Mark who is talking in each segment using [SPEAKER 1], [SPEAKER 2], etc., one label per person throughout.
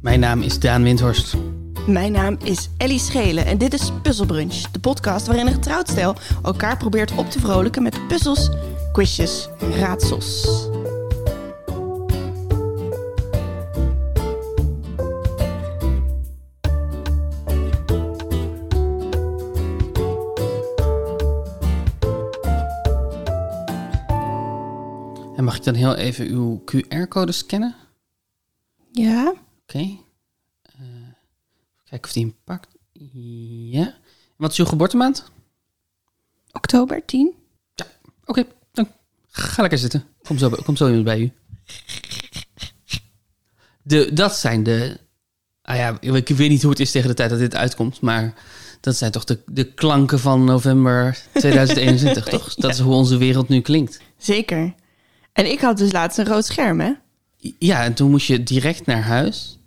[SPEAKER 1] Mijn naam is Daan Windhorst.
[SPEAKER 2] Mijn naam is Ellie Schelen en dit is Puzzelbrunch, de podcast waarin een getrouwd stel elkaar probeert op te vrolijken met puzzels, quizjes, raadsels.
[SPEAKER 1] En mag ik dan heel even uw QR-code scannen?
[SPEAKER 2] Ja?
[SPEAKER 1] Oké. Eh, kijken of die hem pakt. Ja. En wat is uw geboortemaand?
[SPEAKER 2] Oktober 10?
[SPEAKER 1] Oké, dan ga lekker zitten. Kom zo, kom zo iemand bij u. De, dat zijn de... Ah ja, ik weet niet hoe het is tegen de tijd dat dit uitkomt, maar dat zijn toch de, de klanken van november 2021, toch? Dat is hoe onze wereld nu klinkt.
[SPEAKER 2] Zeker. En ik had dus laatst een rood scherm, hè?
[SPEAKER 1] Ja, en toen moest je direct naar huis.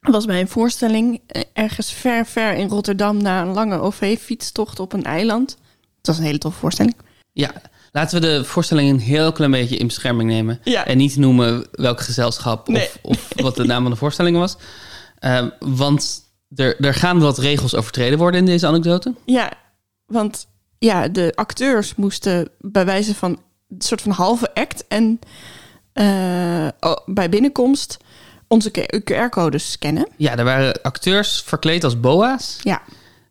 [SPEAKER 2] Dat was bij een voorstelling eh, ergens ver, ver in Rotterdam na een lange OV-fietstocht op een eiland. Het was een hele toffe voorstelling.
[SPEAKER 1] Ja, laten we de voorstelling een heel klein beetje in bescherming nemen.
[SPEAKER 2] Ja.
[SPEAKER 1] En niet noemen welk gezelschap
[SPEAKER 2] Nee.
[SPEAKER 1] of, of wat de naam van de voorstelling was. Ehm, want er, er gaan wat regels overtreden worden in deze anekdote.
[SPEAKER 2] Ja, want ja, de acteurs moesten bij wijze van een soort van halve act en eh, o- bij binnenkomst onze Q- QR-codes scannen.
[SPEAKER 1] Ja, er waren acteurs verkleed als boa's.
[SPEAKER 2] Ja.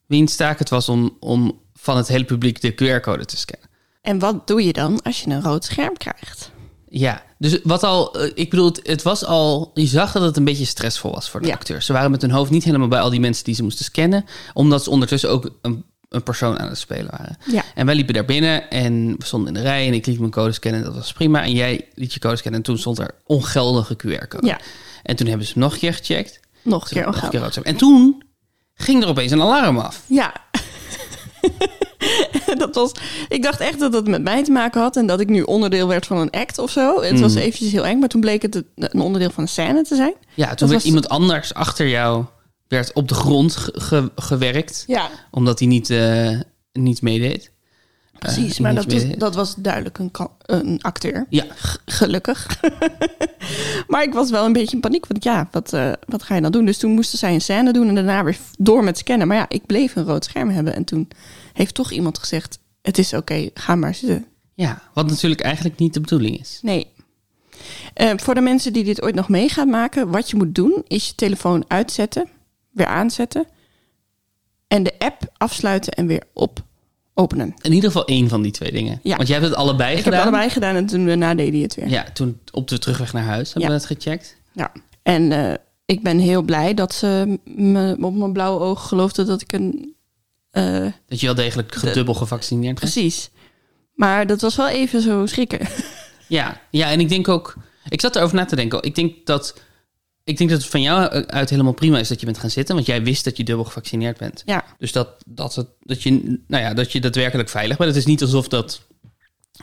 [SPEAKER 1] Wiens taak het was om, om van het hele publiek de QR-code te scannen.
[SPEAKER 2] En wat doe je dan als je een rood scherm krijgt?
[SPEAKER 1] Ja, dus wat al, eh, ik bedoel, het, het was al, je zag dat het een beetje stressvol was voor de
[SPEAKER 2] Ja.
[SPEAKER 1] acteurs. Ze waren met hun hoofd niet helemaal bij al die mensen die ze moesten scannen, omdat ze ondertussen ook een, een persoon aan het spelen waren.
[SPEAKER 2] Ja.
[SPEAKER 1] En wij liepen daar binnen en we stonden in de rij en ik liet mijn code scannen, dat was prima. En jij liet je code scannen en toen stond er ongeldige QR-code.
[SPEAKER 2] Ja.
[SPEAKER 1] En toen hebben ze hem nog een keer gecheckt.
[SPEAKER 2] Nog een
[SPEAKER 1] Toen
[SPEAKER 2] keer.
[SPEAKER 1] nog een
[SPEAKER 2] omgaan.
[SPEAKER 1] keer rood scherm. En toen ging er opeens een alarm af.
[SPEAKER 2] Ja. dat was, ik dacht echt dat het met mij te maken had en dat ik nu onderdeel werd van een act of zo. Het
[SPEAKER 1] Mm.
[SPEAKER 2] was eventjes heel eng, maar toen bleek het een onderdeel van een scène te zijn.
[SPEAKER 1] Ja, toen werd
[SPEAKER 2] was-
[SPEAKER 1] iemand anders achter jou, werd op de grond ge- ge- gewerkt.
[SPEAKER 2] Ja,
[SPEAKER 1] Omdat hij niet, eh, niet meedeed.
[SPEAKER 2] precies.
[SPEAKER 1] Eh,
[SPEAKER 2] maar
[SPEAKER 1] niet
[SPEAKER 2] dat was,
[SPEAKER 1] meedeed.
[SPEAKER 2] dat was duidelijk een, ka- een acteur.
[SPEAKER 1] Ja,
[SPEAKER 2] gelukkig. maar ik was wel een beetje in paniek. Want ja, wat, eh, wat ga je dan doen? Dus toen moesten zij een scène doen en daarna weer door met scannen. Maar ja, ik bleef een rood scherm hebben. En toen heeft toch iemand gezegd: Het is oké, ga maar zitten.
[SPEAKER 1] ja, wat natuurlijk eigenlijk niet de bedoeling is.
[SPEAKER 2] Nee. Eh, voor de mensen die dit ooit nog mee gaan maken, wat je moet doen is je telefoon uitzetten, weer aanzetten. En de app afsluiten en weer op openen.
[SPEAKER 1] In ieder geval één van die twee dingen.
[SPEAKER 2] Ja.
[SPEAKER 1] Want jij hebt het allebei
[SPEAKER 2] Ik heb
[SPEAKER 1] gedaan.
[SPEAKER 2] allebei gedaan en toen daarna deed hij het weer.
[SPEAKER 1] Ja, toen op de terugweg naar huis hebben
[SPEAKER 2] Ja.
[SPEAKER 1] we dat gecheckt.
[SPEAKER 2] Ja. En eh, ik ben heel blij dat ze me op mijn blauwe oog geloofde dat ik een. eh,
[SPEAKER 1] Dat je wel degelijk dubbel gevaccineerd bent.
[SPEAKER 2] precies. Maar dat was wel even zo schrikken.
[SPEAKER 1] Ja. ja, en ik denk ook... Ik zat erover na te denken. Ik denk dat... Ik denk dat het van jou uit helemaal prima is dat je bent gaan zitten. Want jij wist dat je dubbel gevaccineerd bent.
[SPEAKER 2] Ja,
[SPEAKER 1] Dus dat, dat, het, dat, je, nou ja, dat je daadwerkelijk veilig bent. Het is niet alsof dat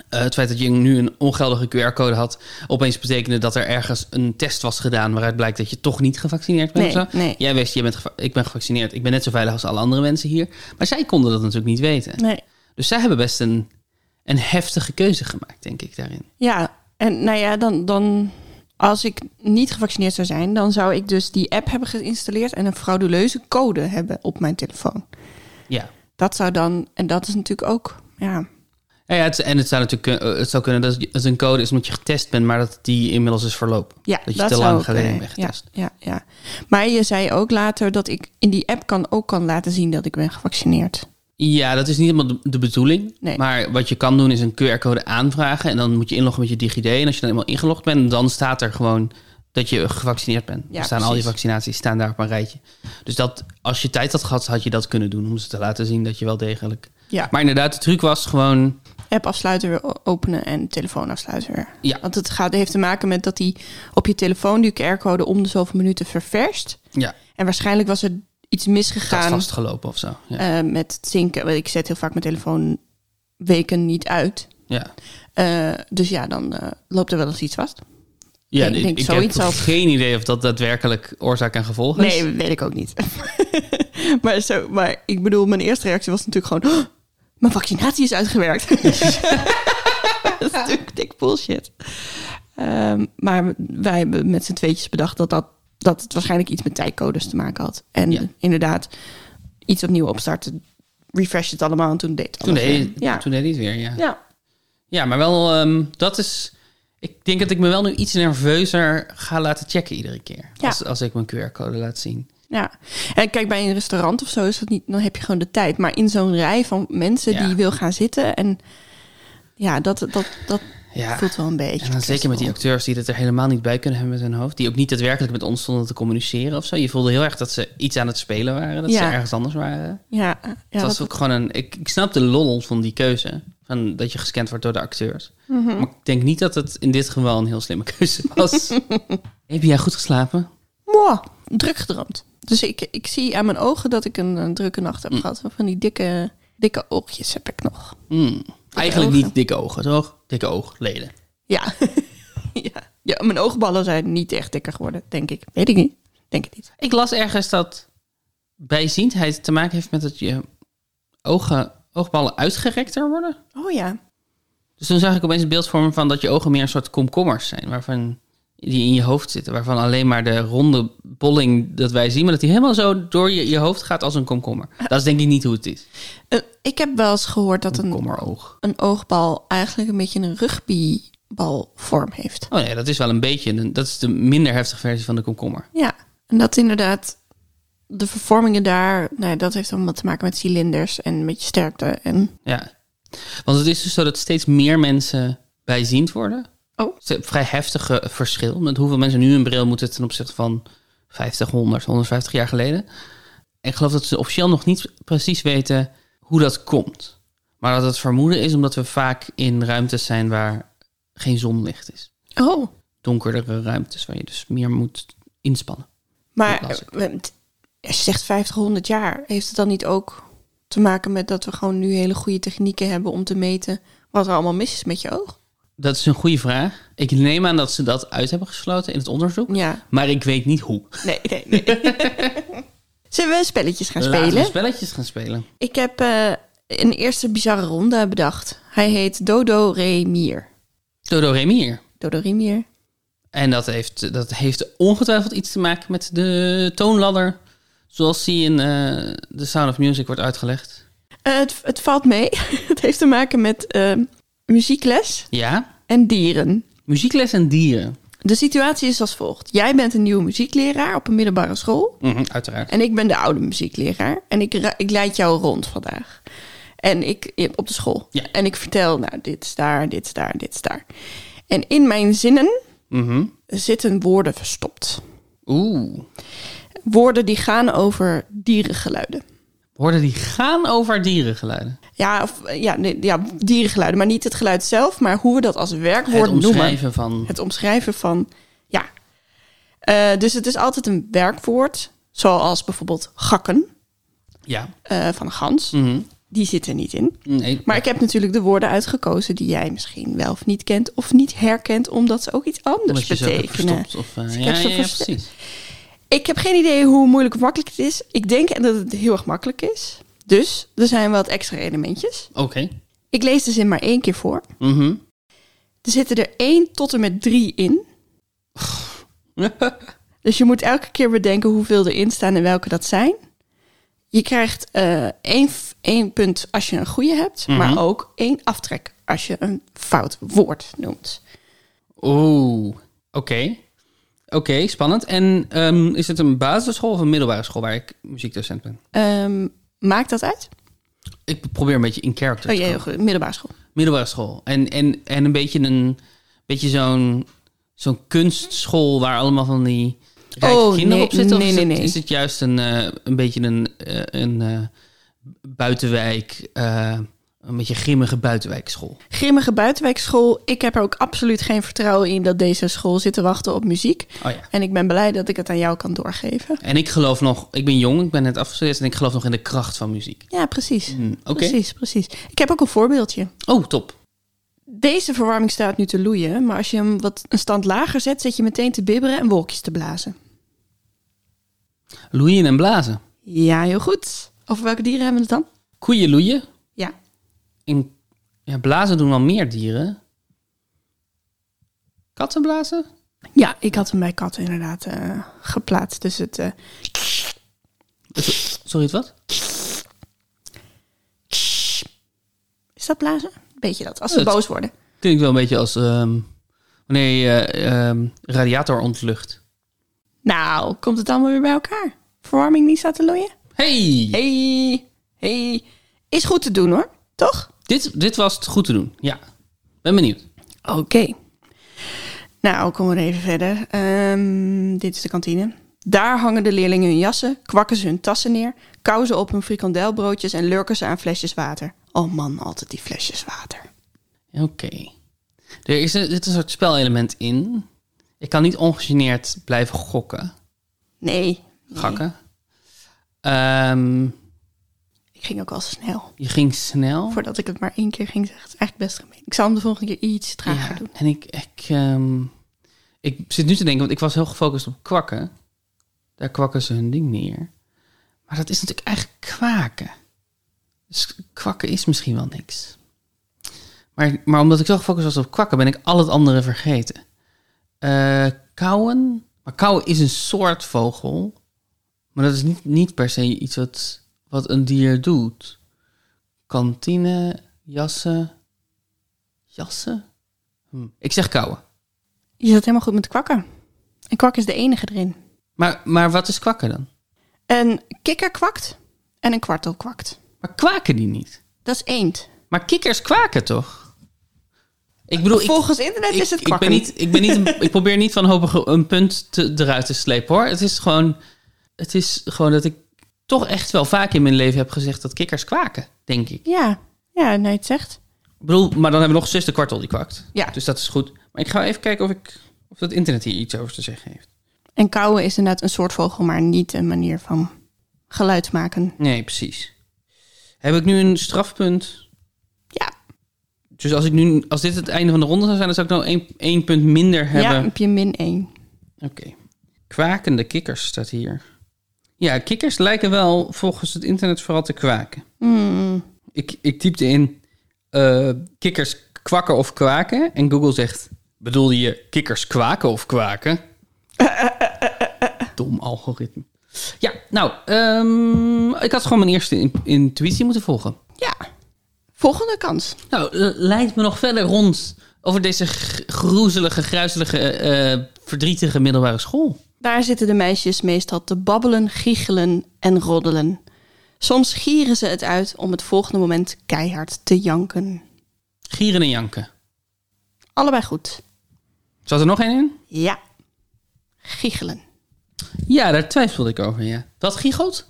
[SPEAKER 1] eh, het feit dat je nu een ongeldige QR-code had... opeens betekende dat er ergens een test was gedaan... waaruit blijkt dat je toch niet gevaccineerd bent.
[SPEAKER 2] Nee,
[SPEAKER 1] of zo.
[SPEAKER 2] nee.
[SPEAKER 1] Jij wist, je bent geva- ik ben gevaccineerd. Ik ben net zo veilig als alle andere mensen hier. Maar zij konden dat natuurlijk niet weten.
[SPEAKER 2] nee.
[SPEAKER 1] Dus zij hebben best een, een heftige keuze gemaakt, denk ik, daarin.
[SPEAKER 2] Ja, en nou ja, dan, dan. Als ik niet gevaccineerd zou zijn, dan zou ik dus die app hebben geïnstalleerd en een frauduleuze code hebben op mijn telefoon.
[SPEAKER 1] Ja.
[SPEAKER 2] Dat zou dan. En dat is natuurlijk ook. Ja,
[SPEAKER 1] Ja, ja, het, en het zou natuurlijk kun- eh, het zou kunnen dat het een code is omdat je getest bent... maar dat die inmiddels is verlopen.
[SPEAKER 2] Ja,
[SPEAKER 1] dat je te lang
[SPEAKER 2] zou
[SPEAKER 1] geleden
[SPEAKER 2] kunnen.
[SPEAKER 1] bent getest.
[SPEAKER 2] Ja, ja, ja. Maar je zei ook later dat ik in die app kan, ook kan laten zien dat ik ben gevaccineerd.
[SPEAKER 1] Ja, dat is niet helemaal de- de bedoeling.
[SPEAKER 2] Nee.
[SPEAKER 1] Maar wat je kan doen is een QR-code aanvragen. En dan moet je inloggen met je DigiD. En als je dan eenmaal ingelogd bent, dan staat er gewoon dat je gevaccineerd bent.
[SPEAKER 2] Ja,
[SPEAKER 1] er staan al je
[SPEAKER 2] precies.
[SPEAKER 1] vaccinaties staan daar op een rijtje. Dus dat, als je tijd had gehad, had je dat kunnen doen. Om ze te laten zien dat je wel degelijk...
[SPEAKER 2] Ja.
[SPEAKER 1] Maar inderdaad, de truc was gewoon...
[SPEAKER 2] App afsluiten weer o- openen en telefoon afsluiten weer.
[SPEAKER 1] Ja.
[SPEAKER 2] Want het gaat, heeft te maken met dat hij op je telefoon die QR-code om de zoveel minuten ververst.
[SPEAKER 1] Ja,
[SPEAKER 2] En waarschijnlijk was er iets
[SPEAKER 1] dat
[SPEAKER 2] misgegaan
[SPEAKER 1] vastgelopen of zo. Ja.
[SPEAKER 2] eh, met het zinken. Want Ik zet heel vaak mijn telefoon weken niet uit.
[SPEAKER 1] ja.
[SPEAKER 2] Eh, dus ja, dan eh, loopt er wel eens iets vast.
[SPEAKER 1] Ja,
[SPEAKER 2] ik
[SPEAKER 1] ik,
[SPEAKER 2] denk
[SPEAKER 1] ik
[SPEAKER 2] zoiets
[SPEAKER 1] heb
[SPEAKER 2] als-
[SPEAKER 1] geen idee of dat daadwerkelijk oorzaak en gevolg is.
[SPEAKER 2] Nee, weet ik ook niet. maar, zo, maar ik bedoel, mijn eerste reactie was natuurlijk gewoon... "Oh, mijn vaccinatie is uitgewerkt. dat is natuurlijk dik bullshit. Ehm, maar wij hebben met z'n tweetjes bedacht dat dat dat het waarschijnlijk iets met tijdcodes te maken had. En
[SPEAKER 1] Ja.
[SPEAKER 2] inderdaad, iets opnieuw opstarten, refresh het allemaal en toen deed het
[SPEAKER 1] Toen
[SPEAKER 2] alles
[SPEAKER 1] deed,
[SPEAKER 2] weer. ja.
[SPEAKER 1] toen deed hij het weer, ja.
[SPEAKER 2] ja.
[SPEAKER 1] Ja, maar wel, ehm, dat is... Ik denk dat ik me wel nu iets nerveuzer ga laten checken iedere keer.
[SPEAKER 2] Ja.
[SPEAKER 1] Als, als ik mijn QR-code laat zien.
[SPEAKER 2] Ja, en kijk, bij een restaurant of zo is dat niet, dan heb je gewoon de tijd. Maar in zo'n rij van mensen
[SPEAKER 1] Ja.
[SPEAKER 2] die wil gaan zitten en ja, dat, dat, dat
[SPEAKER 1] Ja.
[SPEAKER 2] voelt wel een beetje.
[SPEAKER 1] En dan zeker met die
[SPEAKER 2] stressvol.
[SPEAKER 1] acteurs die het er helemaal niet bij kunnen hebben met hun hoofd. Die ook niet daadwerkelijk met ons stonden te communiceren of zo. Je voelde heel erg dat ze iets aan het spelen waren. Dat ze
[SPEAKER 2] Ja.
[SPEAKER 1] ergens anders waren.
[SPEAKER 2] Ja, eh, ja
[SPEAKER 1] het
[SPEAKER 2] dat,
[SPEAKER 1] was ook gewoon een. Ik, ik snap de lol van die keuze. Van dat je gescand wordt door de acteurs.
[SPEAKER 2] Mhm.
[SPEAKER 1] Maar ik denk niet dat het in dit geval een heel slimme keuze was. Heb jij goed geslapen?
[SPEAKER 2] Mwah, druk gedroomd. Dus ik, ik zie aan mijn ogen dat ik een, een drukke nacht
[SPEAKER 1] Mm.
[SPEAKER 2] heb gehad. Van die dikke, dikke oogjes heb ik nog.
[SPEAKER 1] Hmm. Eigenlijk
[SPEAKER 2] ogen.
[SPEAKER 1] niet dikke ogen, toch? Dikke oogleden.
[SPEAKER 2] Ja. ja. ja, mijn oogballen zijn niet echt dikker geworden, denk ik. Weet ik niet. Denk het niet.
[SPEAKER 1] Ik las ergens dat bijziendheid te maken heeft met dat je ogen, oogballen uitgerekter worden.
[SPEAKER 2] Oh ja.
[SPEAKER 1] Dus toen zag ik opeens een beeld voor me van dat je ogen meer een soort komkommers zijn. Waarvan die in je hoofd zitten. Waarvan alleen maar de ronde bolling dat wij zien. Maar dat die helemaal zo door je, je hoofd gaat als een komkommer. Dat is denk ik niet hoe het is. Oh
[SPEAKER 2] Eh, ik heb wel eens gehoord dat een,
[SPEAKER 1] Komkommeroog.
[SPEAKER 2] een oogbal eigenlijk een beetje een rugbybalvorm heeft.
[SPEAKER 1] Oh nee, dat is wel een beetje. een- Dat is de minder heftige versie van de komkommer.
[SPEAKER 2] Ja, en dat inderdaad de vervormingen daar, nou, dat heeft allemaal te maken met cilinders en met je sterkte. En
[SPEAKER 1] Ja. Want het is dus zo dat steeds meer mensen bijziend worden.
[SPEAKER 2] Oh.
[SPEAKER 1] Het is een vrij heftige verschil met hoeveel mensen nu een bril moeten ten opzichte van 50, 100, 150 jaar geleden. En ik geloof dat ze officieel nog niet precies weten hoe dat komt. Maar dat het vermoeden is omdat we vaak in ruimtes zijn waar geen zonlicht is.
[SPEAKER 2] oh,
[SPEAKER 1] Donkerdere ruimtes waar je dus meer moet inspannen.
[SPEAKER 2] maar
[SPEAKER 1] Dat las ik.
[SPEAKER 2] eh, het- als je zegt 50, 100 jaar, heeft het dan niet ook te maken met dat we gewoon nu hele goede technieken hebben om te meten wat er allemaal mis is met je oog?
[SPEAKER 1] Dat is een goede vraag. Ik neem aan dat ze dat uit hebben gesloten in het onderzoek.
[SPEAKER 2] Ja,
[SPEAKER 1] Maar ik weet niet hoe.
[SPEAKER 2] nee, nee, nee. Zullen we spelletjes gaan
[SPEAKER 1] Laten we
[SPEAKER 2] spelen?
[SPEAKER 1] spelletjes gaan spelen.
[SPEAKER 2] Ik heb eh, een eerste bizarre ronde bedacht. Hij heet Dodo Remier.
[SPEAKER 1] Dodo Remier.
[SPEAKER 2] Dodo Remier.
[SPEAKER 1] En dat heeft, dat heeft ongetwijfeld iets te maken met de toonladder. Zoals die in eh, The Sound of Music wordt uitgelegd.
[SPEAKER 2] Eh, het, het valt mee. het heeft te maken met eh, muziekles
[SPEAKER 1] Ja,
[SPEAKER 2] en dieren.
[SPEAKER 1] muziekles en dieren.
[SPEAKER 2] De situatie is als volgt. Jij bent een nieuwe muziekleraar op een middelbare school.
[SPEAKER 1] Mhm, uiteraard.
[SPEAKER 2] En ik ben de oude muziekleraar. En ik, ra- ik leid jou rond vandaag. En ik op de school.
[SPEAKER 1] Ja.
[SPEAKER 2] En ik vertel, nou, dit is daar, dit is daar, dit is daar. En in mijn zinnen
[SPEAKER 1] Mhm.
[SPEAKER 2] zitten woorden verstopt.
[SPEAKER 1] Oeh.
[SPEAKER 2] Woorden die gaan over dierengeluiden.
[SPEAKER 1] Hoorden die gaan over dierengeluiden?
[SPEAKER 2] Ja, of, eh, ja, nee, ja, dierengeluiden, maar niet het geluid zelf, maar hoe we dat als
[SPEAKER 1] Het
[SPEAKER 2] werkwoord noemen.
[SPEAKER 1] omschrijven van...
[SPEAKER 2] Het omschrijven van, ja. Eh, dus het is altijd een werkwoord, zoals bijvoorbeeld gakken
[SPEAKER 1] Ja.
[SPEAKER 2] eh, van een gans.
[SPEAKER 1] Mhm.
[SPEAKER 2] Die zit er niet in.
[SPEAKER 1] Nee.
[SPEAKER 2] Maar ik heb natuurlijk de woorden uitgekozen die jij misschien wel of niet kent of niet herkent, omdat ze ook iets anders
[SPEAKER 1] Omdat je ze ook hebt
[SPEAKER 2] betekenen.
[SPEAKER 1] verstopt Of, eh,
[SPEAKER 2] Dus ik
[SPEAKER 1] ja,
[SPEAKER 2] heb
[SPEAKER 1] ja,
[SPEAKER 2] ze
[SPEAKER 1] ja,
[SPEAKER 2] verstopt.
[SPEAKER 1] precies.
[SPEAKER 2] Ik heb geen idee hoe moeilijk of makkelijk het is. Ik denk dat het heel erg makkelijk is. Dus er zijn wat extra elementjes.
[SPEAKER 1] Oké.
[SPEAKER 2] Ik lees de zin maar één keer voor.
[SPEAKER 1] Mhm.
[SPEAKER 2] Er zitten er één tot en met drie in. Dus je moet elke keer bedenken hoeveel erin staan en welke dat zijn. Je krijgt eh één, f- één punt als je een goede hebt, maar ook één aftrek als je een fout woord noemt.
[SPEAKER 1] Oeh, oké. Oké, spannend. En ehm, is het een basisschool of een middelbare school waar ik muziekdocent ben?
[SPEAKER 2] Ehm, maakt dat uit?
[SPEAKER 1] Ik probeer een beetje in character
[SPEAKER 2] Oh
[SPEAKER 1] te
[SPEAKER 2] jee, heel
[SPEAKER 1] komen.
[SPEAKER 2] goed. middelbare school.
[SPEAKER 1] Middelbare school. En, en, en een beetje, een, beetje zo'n, zo'n kunstschool waar allemaal van die rijke
[SPEAKER 2] Oh,
[SPEAKER 1] kinderen
[SPEAKER 2] nee,
[SPEAKER 1] op zitten? of
[SPEAKER 2] nee,
[SPEAKER 1] is,
[SPEAKER 2] nee,
[SPEAKER 1] het,
[SPEAKER 2] nee.
[SPEAKER 1] is het juist een, eh, een beetje een, eh, een eh, buitenwijk, eh, een beetje grimmige buitenwijkschool?
[SPEAKER 2] Grimmige buitenwijkschool. Ik heb er ook absoluut geen vertrouwen in dat deze school zit te wachten op muziek.
[SPEAKER 1] Oh ja.
[SPEAKER 2] En ik ben blij dat ik het aan jou kan doorgeven.
[SPEAKER 1] En ik geloof nog, ik ben jong, ik ben net afgestudeerd en ik geloof nog in de kracht van muziek.
[SPEAKER 2] Ja, precies.
[SPEAKER 1] Hmm, Oké.
[SPEAKER 2] Mm. Precies, precies. Ik heb ook een voorbeeldje.
[SPEAKER 1] Oh, top.
[SPEAKER 2] Deze verwarming staat nu te loeien, maar als je hem wat een stand lager zet, zit je meteen te bibberen en wolkjes te blazen.
[SPEAKER 1] Loeien en blazen.
[SPEAKER 2] Ja, heel goed. Over welke dieren hebben we het dan?
[SPEAKER 1] Koeien loeien.
[SPEAKER 2] Ja.
[SPEAKER 1] En ja, blazen doen wel meer dieren. Katten blazen?
[SPEAKER 2] Ja, ik had hem bij katten inderdaad eh, geplaatst. Dus het, eh,
[SPEAKER 1] Het- Sorry, het wat?
[SPEAKER 2] is dat blazen? Beetje dat, als
[SPEAKER 1] Ja,
[SPEAKER 2] ze
[SPEAKER 1] dat-
[SPEAKER 2] boos worden.
[SPEAKER 1] Klinkt wel een beetje als ehm, wanneer je eh, ehm, radiator ontlucht.
[SPEAKER 2] Nou, komt het allemaal weer bij elkaar? Verwarming niet staat te loeien?
[SPEAKER 1] Hey!
[SPEAKER 2] hey, hey. Is goed te doen hoor, toch?
[SPEAKER 1] Dit, dit was het goed te doen. Ja. Ben benieuwd.
[SPEAKER 2] Oké. Nou, komen we even verder. Ehm, dit is de kantine. Daar hangen de leerlingen hun jassen, kwakken ze hun tassen neer, kauwen ze op hun frikandelbroodjes en lurken ze aan flesjes water. Oh man, altijd die flesjes water.
[SPEAKER 1] Oké. Er is een, dit een soort spelelement in. Ik kan niet ongegeneerd blijven gokken.
[SPEAKER 2] Nee,
[SPEAKER 1] Gakken. Ehm,
[SPEAKER 2] ik ging ook al snel.
[SPEAKER 1] je ging snel.
[SPEAKER 2] Voordat ik het maar één keer ging zeggen, het is eigenlijk best gemeen. Ik zal hem de volgende keer iets trager doen.
[SPEAKER 1] En ik, ik, ehm, ik zit nu te denken, want ik was heel gefocust op kwakken. Daar kwakken ze hun ding neer. Maar dat is natuurlijk eigenlijk kwaken. Dus kwakken is misschien wel niks. Maar, maar omdat ik zo gefocust was op kwakken, ben ik al het andere vergeten. Eh kauwen. Maar kauwen is een soort vogel. Maar dat is niet, niet per se iets wat, wat een dier doet. Kantine, jassen. Jassen? Hm.
[SPEAKER 2] Hmm.
[SPEAKER 1] Ik zeg kauwen.
[SPEAKER 2] Je zat helemaal goed met kwakken. En kwak is de enige erin.
[SPEAKER 1] Maar, maar wat is kwakken dan?
[SPEAKER 2] Een kikker kwakt en een kwartel kwakt.
[SPEAKER 1] Maar kwaken die niet?
[SPEAKER 2] Dat is eend.
[SPEAKER 1] Maar kikkers kwaken toch? Ik bedoel, Oh, ik,
[SPEAKER 2] Volgens internet
[SPEAKER 1] ik,
[SPEAKER 2] is het
[SPEAKER 1] ik ben
[SPEAKER 2] kwakken.
[SPEAKER 1] niet, ik, ben niet een- ik probeer niet van hopen een punt te, eruit te slepen hoor. Het is, gewoon, het is gewoon dat ik toch echt wel vaak in mijn leven heb gezegd dat kikkers kwaken, denk ik.
[SPEAKER 2] Ja, ja, nee, het zegt.
[SPEAKER 1] Ik bedoel, maar dan hebben we nog zuster kwartel die kwakt.
[SPEAKER 2] Ja.
[SPEAKER 1] Dus dat is goed. Maar ik ga even kijken of, ik, of dat internet hier iets over te zeggen heeft.
[SPEAKER 2] En kauwen is inderdaad een soort vogel, maar niet een manier van geluid maken.
[SPEAKER 1] Nee, precies. Heb ik nu een strafpunt?
[SPEAKER 2] Ja,
[SPEAKER 1] Dus als, ik nu, als dit het einde van de ronde zou zijn, dan zou ik nou één, één punt minder hebben.
[SPEAKER 2] ja heb je min 1.
[SPEAKER 1] Oké. Kwakende kikkers staat hier. Ja, kikkers lijken wel volgens het internet vooral te kwaken. Ik, ik typte in eh, kikkers kwakken of kwaken. En Google zegt, bedoel je kikkers kwaken of kwaken? Dom algoritme. Ja, nou, ehm, ik had gewoon mijn eerste in- intuïtie moeten volgen.
[SPEAKER 2] Ja, volgende kans.
[SPEAKER 1] Nou, eh, leid me nog verder rond over deze g- groezelige, gruizelige, eh, verdrietige middelbare school.
[SPEAKER 2] Daar zitten de meisjes meestal te babbelen, giechelen en roddelen. Soms gieren ze het uit om het volgende moment keihard te janken.
[SPEAKER 1] Gieren en janken.
[SPEAKER 2] Allebei goed.
[SPEAKER 1] Zat er nog één in?
[SPEAKER 2] Ja. Giechelen.
[SPEAKER 1] Ja, daar twijfelde ik over, ja. Wat giechelt?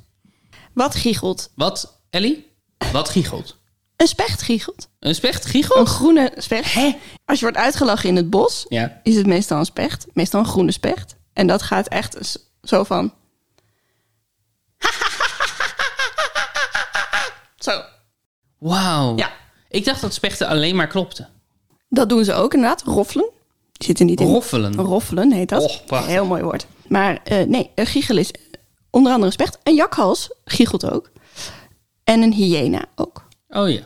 [SPEAKER 2] Wat giechelt?
[SPEAKER 1] Wat, Ellie? Wat giechelt?
[SPEAKER 2] Een specht giechelt.
[SPEAKER 1] Een specht
[SPEAKER 2] Een
[SPEAKER 1] giechelt?
[SPEAKER 2] groene specht. Als je wordt uitgelachen in het bos,
[SPEAKER 1] Ja.
[SPEAKER 2] is het meestal een specht. Meestal een groene specht. En dat gaat echt s- zo van... zo.
[SPEAKER 1] Wauw.
[SPEAKER 2] Ja.
[SPEAKER 1] Ik dacht dat spechten alleen maar klopten.
[SPEAKER 2] Dat doen ze ook inderdaad. Roffelen. Die zitten niet in.
[SPEAKER 1] Roffelen.
[SPEAKER 2] Roffelen heet dat.
[SPEAKER 1] Och, prachtig.
[SPEAKER 2] Heel mooi woord. Maar eh, nee, een giechel is onder andere een specht. Een jakhals giechelt ook. En een hyena ook.
[SPEAKER 1] Oh ja.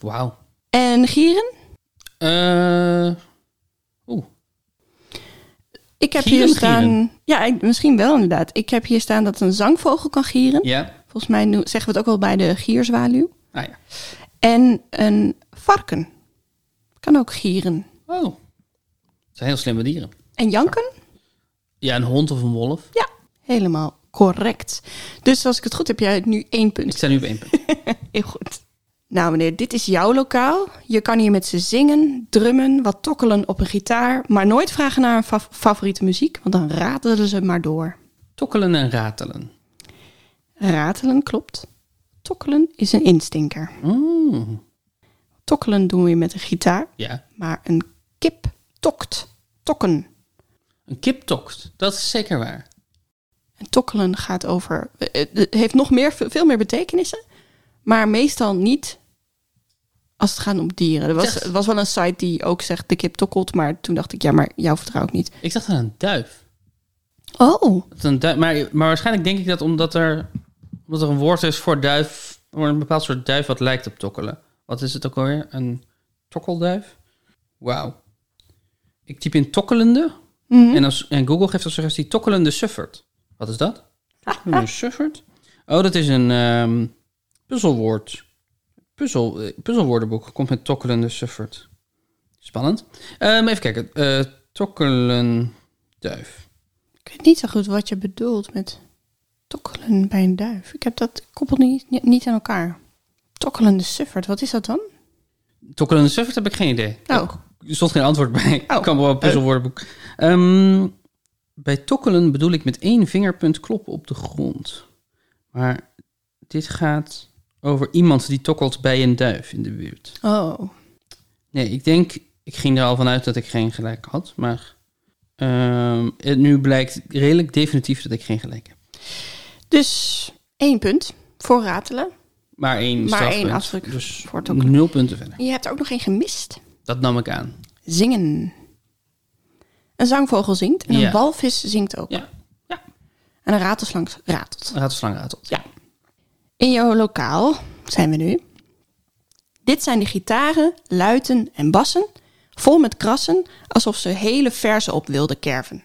[SPEAKER 1] Wauw.
[SPEAKER 2] En gieren?
[SPEAKER 1] Eh. Oeh.
[SPEAKER 2] Ik heb
[SPEAKER 1] Gieren,
[SPEAKER 2] hier staan... Ja, ik- misschien wel inderdaad. Ik heb hier staan dat een zangvogel kan gieren.
[SPEAKER 1] Ja.
[SPEAKER 2] Volgens mij no- zeggen we het ook wel bij de gierzwaluw.
[SPEAKER 1] Ah ja.
[SPEAKER 2] En een varken. Kan ook gieren.
[SPEAKER 1] Oh. Dat zijn heel slimme dieren.
[SPEAKER 2] En janken?
[SPEAKER 1] Ja, een hond of een wolf.
[SPEAKER 2] Ja, helemaal correct. Dus als ik het goed heb, jij hebt nu één
[SPEAKER 1] Ik
[SPEAKER 2] punt.
[SPEAKER 1] sta nu op één punt.
[SPEAKER 2] Heel goed. Nou meneer, dit is jouw lokaal. Je kan hier met ze zingen, drummen, wat tokkelen op een gitaar. Maar nooit vragen naar een fa- favoriete muziek, want dan ratelen ze maar door.
[SPEAKER 1] Tokkelen en ratelen.
[SPEAKER 2] Ratelen klopt. Tokkelen is een instinker.
[SPEAKER 1] Mm.
[SPEAKER 2] Tokkelen doen we met een gitaar.
[SPEAKER 1] Ja.
[SPEAKER 2] Maar een kip tokt. Tokken.
[SPEAKER 1] Een kip tokt. Dat is zeker waar.
[SPEAKER 2] En tokkelen gaat over. eh, Het heeft nog meer, veel meer betekenissen. Maar meestal niet als het gaat om dieren. Er was,
[SPEAKER 1] Zeg.
[SPEAKER 2] er was wel een site die ook zegt: de kip tokkelt. Maar toen dacht ik: ja, maar jou vertrouw ik niet.
[SPEAKER 1] Ik dacht aan een duif.
[SPEAKER 2] Oh,
[SPEAKER 1] Dat een duif maar, maar waarschijnlijk denk ik dat omdat er, omdat er een woord is voor duif, voor een bepaald soort duif wat lijkt op tokkelen. Wat is het ook alweer? Een tokkelduif? Wauw. Ik typ in tokkelende En, als, en Google geeft als suggestie tokkelende suffert. Wat is dat? Tokkelende suffert? Oh, dat is een ehm, puzzelwoord. Puzzel, eh, puzzelwoordenboek komt met tokkelende suffert. Spannend. Ehm, even kijken. Eh tokkelen duif.
[SPEAKER 2] Ik weet niet zo goed wat je bedoelt met tokkelen bij een duif. Ik heb dat ik koppel niet, ni- niet aan elkaar. Tokkelende suffert, wat is dat dan?
[SPEAKER 1] Tokkelende suffert heb ik geen idee.
[SPEAKER 2] Oh,
[SPEAKER 1] Er stond geen antwoord bij. Ik
[SPEAKER 2] Oh.
[SPEAKER 1] kan wel een puzzelwoordenboek. Ehm, bij tokkelen bedoel ik met één vingerpunt kloppen op de grond. Maar dit gaat over iemand die tokkelt bij een duif in de buurt.
[SPEAKER 2] oh.
[SPEAKER 1] Nee, ik denk... Ik ging er al vanuit dat ik geen gelijk had, maar... ehm, het nu blijkt redelijk definitief dat ik geen gelijk heb.
[SPEAKER 2] Dus één punt voor ratelen.
[SPEAKER 1] Maar één
[SPEAKER 2] Maar één
[SPEAKER 1] strafpunt.
[SPEAKER 2] afdruk
[SPEAKER 1] Dus
[SPEAKER 2] voor tokkelen.
[SPEAKER 1] nul punten verder.
[SPEAKER 2] Je hebt er ook nog één gemist.
[SPEAKER 1] Dat nam ik aan.
[SPEAKER 2] Zingen. Een zangvogel zingt en een
[SPEAKER 1] Ja.
[SPEAKER 2] walvis zingt ook.
[SPEAKER 1] Ja,
[SPEAKER 2] En een ratelslang ratelt.
[SPEAKER 1] ratelslang ratelt.
[SPEAKER 2] Ja. In jouw lokaal zijn we nu. Dit zijn de gitaren, luiten en bassen, vol met krassen, alsof ze hele verzen op wilden kerven.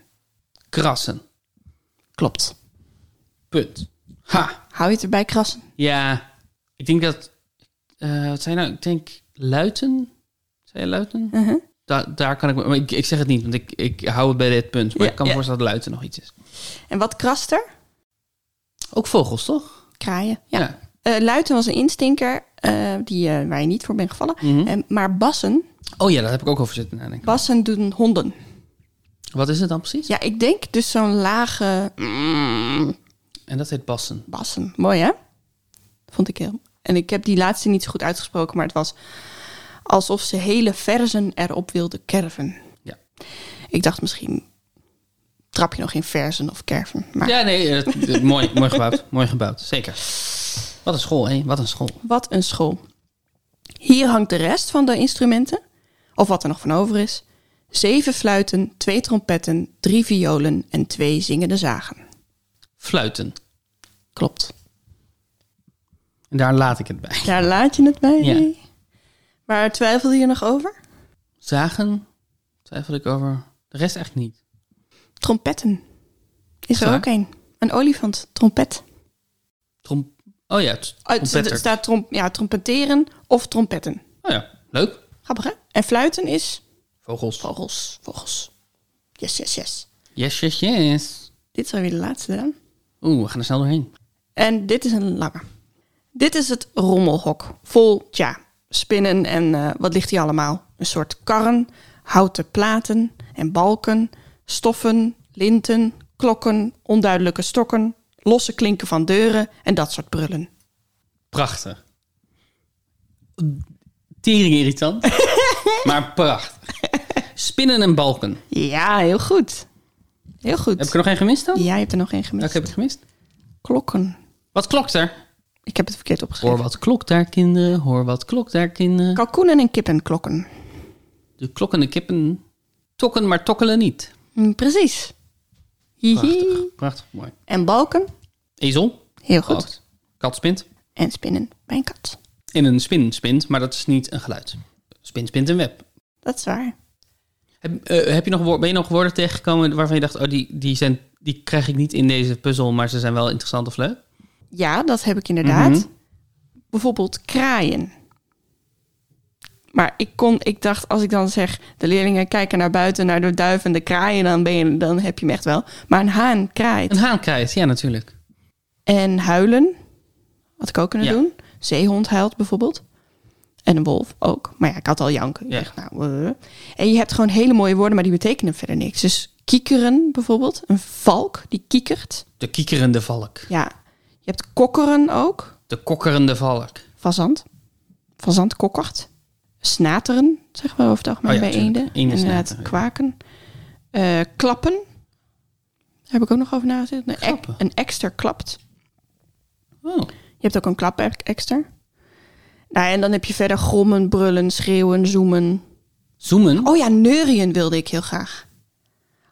[SPEAKER 1] Krassen.
[SPEAKER 2] Klopt.
[SPEAKER 1] Punt. Ha.
[SPEAKER 2] Hou je het erbij krassen?
[SPEAKER 1] Ja, ik denk dat. eh, wat zijn nou? Ik denk luiten. Zijn je luiten?
[SPEAKER 2] Mhm.
[SPEAKER 1] Da- daar kan ik, me- maar ik. Ik zeg het niet, want ik, ik hou het bij dit punt. Maar
[SPEAKER 2] Ja,
[SPEAKER 1] ik kan me
[SPEAKER 2] ja.
[SPEAKER 1] voorstellen dat luiten nog iets is.
[SPEAKER 2] En wat krast er?
[SPEAKER 1] Ook vogels, toch?
[SPEAKER 2] Kraaien. Ja. Eh, luiten was een instinker eh, die, eh, waar je niet voor bent gevallen.
[SPEAKER 1] Mhm.
[SPEAKER 2] Eh, maar bassen,
[SPEAKER 1] Oh ja, daar heb ik ook over zitten nadenken.
[SPEAKER 2] bassen doen honden.
[SPEAKER 1] Wat is het dan precies?
[SPEAKER 2] Ja, ik denk dus zo'n lage
[SPEAKER 1] En dat heet bassen.
[SPEAKER 2] bassen. Mooi hè? Vond ik heel. En ik heb die laatste niet zo goed uitgesproken, maar het was alsof ze hele verzen erop wilden kerven.
[SPEAKER 1] Ja.
[SPEAKER 2] Ik dacht misschien trap je nog in verzen of kerven. Maar
[SPEAKER 1] Ja, nee, eh, het- het- mooi, mooi gebouwd. Mooi gebouwd, zeker. Wat een school, hé. Wat een school.
[SPEAKER 2] wat een school. Hier hangt de rest van de instrumenten, of wat er nog van over is. Zeven fluiten, twee trompetten, drie violen en twee zingende zagen.
[SPEAKER 1] Fluiten.
[SPEAKER 2] Klopt.
[SPEAKER 1] En daar laat ik het bij.
[SPEAKER 2] Daar laat je het bij.
[SPEAKER 1] Ja.
[SPEAKER 2] Waar twijfelde je nog over?
[SPEAKER 1] Zagen, twijfel ik over. De rest echt niet.
[SPEAKER 2] Trompetten. Is er
[SPEAKER 1] Zo.
[SPEAKER 2] ook een. Een olifant. Trompet.
[SPEAKER 1] Trom oh ja, het
[SPEAKER 2] Oh, het
[SPEAKER 1] trompetter.
[SPEAKER 2] er staat trom ja, trompeteren of trompetten.
[SPEAKER 1] Oh ja, leuk.
[SPEAKER 2] Grappig, hè? En fluiten is
[SPEAKER 1] Vogels.
[SPEAKER 2] vogels. Vogels. Yes, yes, yes.
[SPEAKER 1] Yes, yes, yes.
[SPEAKER 2] Dit is alweer de laatste dan.
[SPEAKER 1] Oeh, we gaan er snel doorheen.
[SPEAKER 2] En dit is een lange. Dit is het rommelhok. Vol, tja, spinnen en eh, wat ligt hier allemaal? Een soort karren, houten platen en balken, stoffen, linten, klokken, onduidelijke stokken, losse klinken van deuren en dat soort brullen.
[SPEAKER 1] Prachtig. Tering irritant, maar prachtig. Spinnen en balken.
[SPEAKER 2] Ja, heel goed. Heel goed.
[SPEAKER 1] Heb ik er nog één gemist dan?
[SPEAKER 2] Ja, je hebt er nog één gemist.
[SPEAKER 1] Welke heb ik gemist?
[SPEAKER 2] Klokken.
[SPEAKER 1] Wat klokt er?
[SPEAKER 2] Ik heb het verkeerd
[SPEAKER 1] Hoor
[SPEAKER 2] opgeschreven.
[SPEAKER 1] wat klokt daar, kinderen. Hoor wat klokt daar, kinderen.
[SPEAKER 2] Kalkoenen en kippenklokken.
[SPEAKER 1] De klokkende kippen tokken, maar tokkelen niet.
[SPEAKER 2] Hm, precies. Hihi.
[SPEAKER 1] Prachtig, prachtig, mooi.
[SPEAKER 2] En balken.
[SPEAKER 1] Ezel.
[SPEAKER 2] Heel goed.
[SPEAKER 1] Klokt. Kat spint.
[SPEAKER 2] En spinnen bij een kat.
[SPEAKER 1] En een spin spint, maar dat is niet een geluid. Spin spint een web.
[SPEAKER 2] Dat is waar.
[SPEAKER 1] Heb, eh, heb je nog, woor- ben je nog woorden tegengekomen waarvan je dacht, oh, die, die, zijn, die krijg ik niet in deze puzzel, maar ze zijn wel interessant of leuk?
[SPEAKER 2] Ja, dat heb ik inderdaad.
[SPEAKER 1] Mhm.
[SPEAKER 2] Bijvoorbeeld kraaien. Maar ik, kon, ik dacht, als ik dan zeg, de leerlingen kijken naar buiten, naar de duiven en de kraaien, dan, ben je, dan heb je hem echt wel. Maar een haan kraait.
[SPEAKER 1] Een haankrijt, ja, natuurlijk.
[SPEAKER 2] En huilen had ik ook kunnen
[SPEAKER 1] Ja.
[SPEAKER 2] doen. Zeehond huilt bijvoorbeeld. En een wolf ook. Maar ja, ik had al janken. Ik
[SPEAKER 1] Ja.
[SPEAKER 2] dacht, nou, eh. En je hebt gewoon hele mooie woorden, maar die betekenen verder niks. Dus kiekeren bijvoorbeeld. Een valk die kiekert.
[SPEAKER 1] De kiekerende valk.
[SPEAKER 2] Ja. Je hebt kokkeren ook.
[SPEAKER 1] De kokkerende valk.
[SPEAKER 2] Fazant. Fazant kokkert. Snateren, zeggen we over het algemeen
[SPEAKER 1] Oh ja,
[SPEAKER 2] bij
[SPEAKER 1] tuurlijk.
[SPEAKER 2] eenden.
[SPEAKER 1] Eenden
[SPEAKER 2] Inderdaad,
[SPEAKER 1] snateren, ja.
[SPEAKER 2] kwaken. Eh, klappen. Daar heb ik ook nog over nagezeten. Een, ek,
[SPEAKER 1] Klappen.
[SPEAKER 2] een ekster klapt.
[SPEAKER 1] Oh,
[SPEAKER 2] Je hebt ook een klap ekster. Nou, en dan heb je verder grommen, brullen, schreeuwen, zoomen.
[SPEAKER 1] zoomen.
[SPEAKER 2] Oh ja, neurien wilde ik heel graag.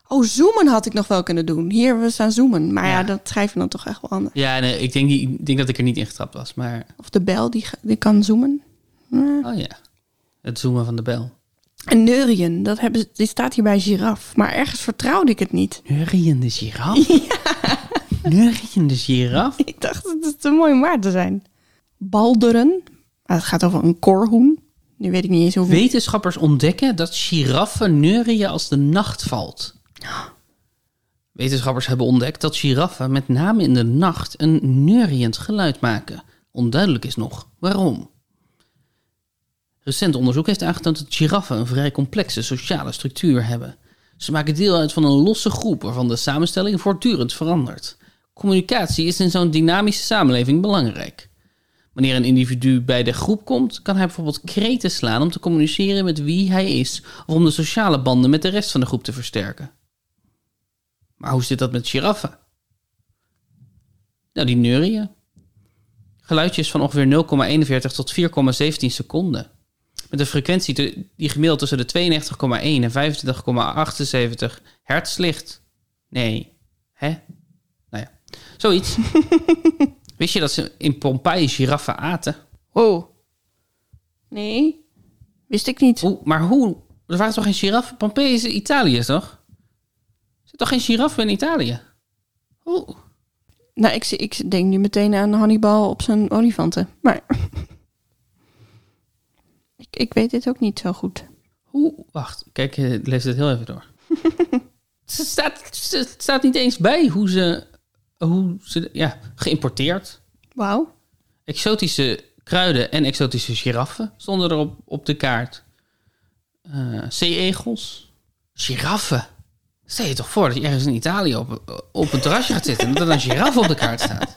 [SPEAKER 2] Oh, zoomen had ik nog wel kunnen doen. Hier, we staan zoomen. Maar ja,
[SPEAKER 1] Ja.
[SPEAKER 2] dat schrijven we dan toch echt wel anders.
[SPEAKER 1] Ja, nee, ik denk, die- ik denk dat ik er niet in getrapt was, maar
[SPEAKER 2] Of de bel, die, ga- die kan zoomen.
[SPEAKER 1] oh ja. Het zoomen van de bel.
[SPEAKER 2] Eh. En neurien, dat hebben ze, die staat hier bij giraf. Maar ergens vertrouwde ik het niet.
[SPEAKER 1] Neuriënde giraf? Neuriënde giraf?
[SPEAKER 2] Ik dacht, het is te mooi om waar te zijn. Balderen. Ah, het gaat over een korhoen. Nu weet ik niet eens hoeveel.
[SPEAKER 1] Wetenschappers ontdekken dat giraffen neurien als de nacht valt. Wetenschappers hebben ontdekt dat giraffen met name in de nacht een neuriënd geluid maken. Onduidelijk is nog waarom. Recent onderzoek heeft aangetoond dat giraffen een vrij complexe sociale structuur hebben. Ze maken deel uit van een losse groep waarvan de samenstelling voortdurend verandert. Communicatie is in zo'n dynamische samenleving belangrijk. Wanneer een individu bij de groep komt, kan hij bijvoorbeeld kreten slaan om te communiceren met wie hij is of om de sociale banden met de rest van de groep te versterken. Maar hoe zit dat met giraffen? Nou, die neurien. Geluidjes van ongeveer 0,41 tot 4,17 seconden. Met een frequentie te- die gemiddeld tussen de 92,1 en 25,78 hertz ligt. Nee, hè? Nou ja, zoiets. Wist je dat ze in Pompeii giraffen aten?
[SPEAKER 2] Oh. Nee. Wist ik niet.
[SPEAKER 1] Oeh, maar hoe? Er waren toch geen giraffen? Pompeii is Italië, toch? Er zit toch geen giraffen in Italië? Oeh.
[SPEAKER 2] Nou, ik, zie- ik denk nu meteen aan Hannibal op zijn olifanten. Maar ik, ik weet dit ook niet zo goed.
[SPEAKER 1] Hoe? Wacht, kijk, eh, ik lees dit heel even door. Het staat, het staat niet eens bij hoe ze, hoe ze, ja, geïmporteerd.
[SPEAKER 2] Wauw.
[SPEAKER 1] Exotische kruiden en exotische giraffen stonden er op, op de kaart. Eh, Zeeegels. Giraffen. Stel je toch voor dat je ergens in Italië op, op een terrasje gaat zitten en dat er een giraf op de kaart staat.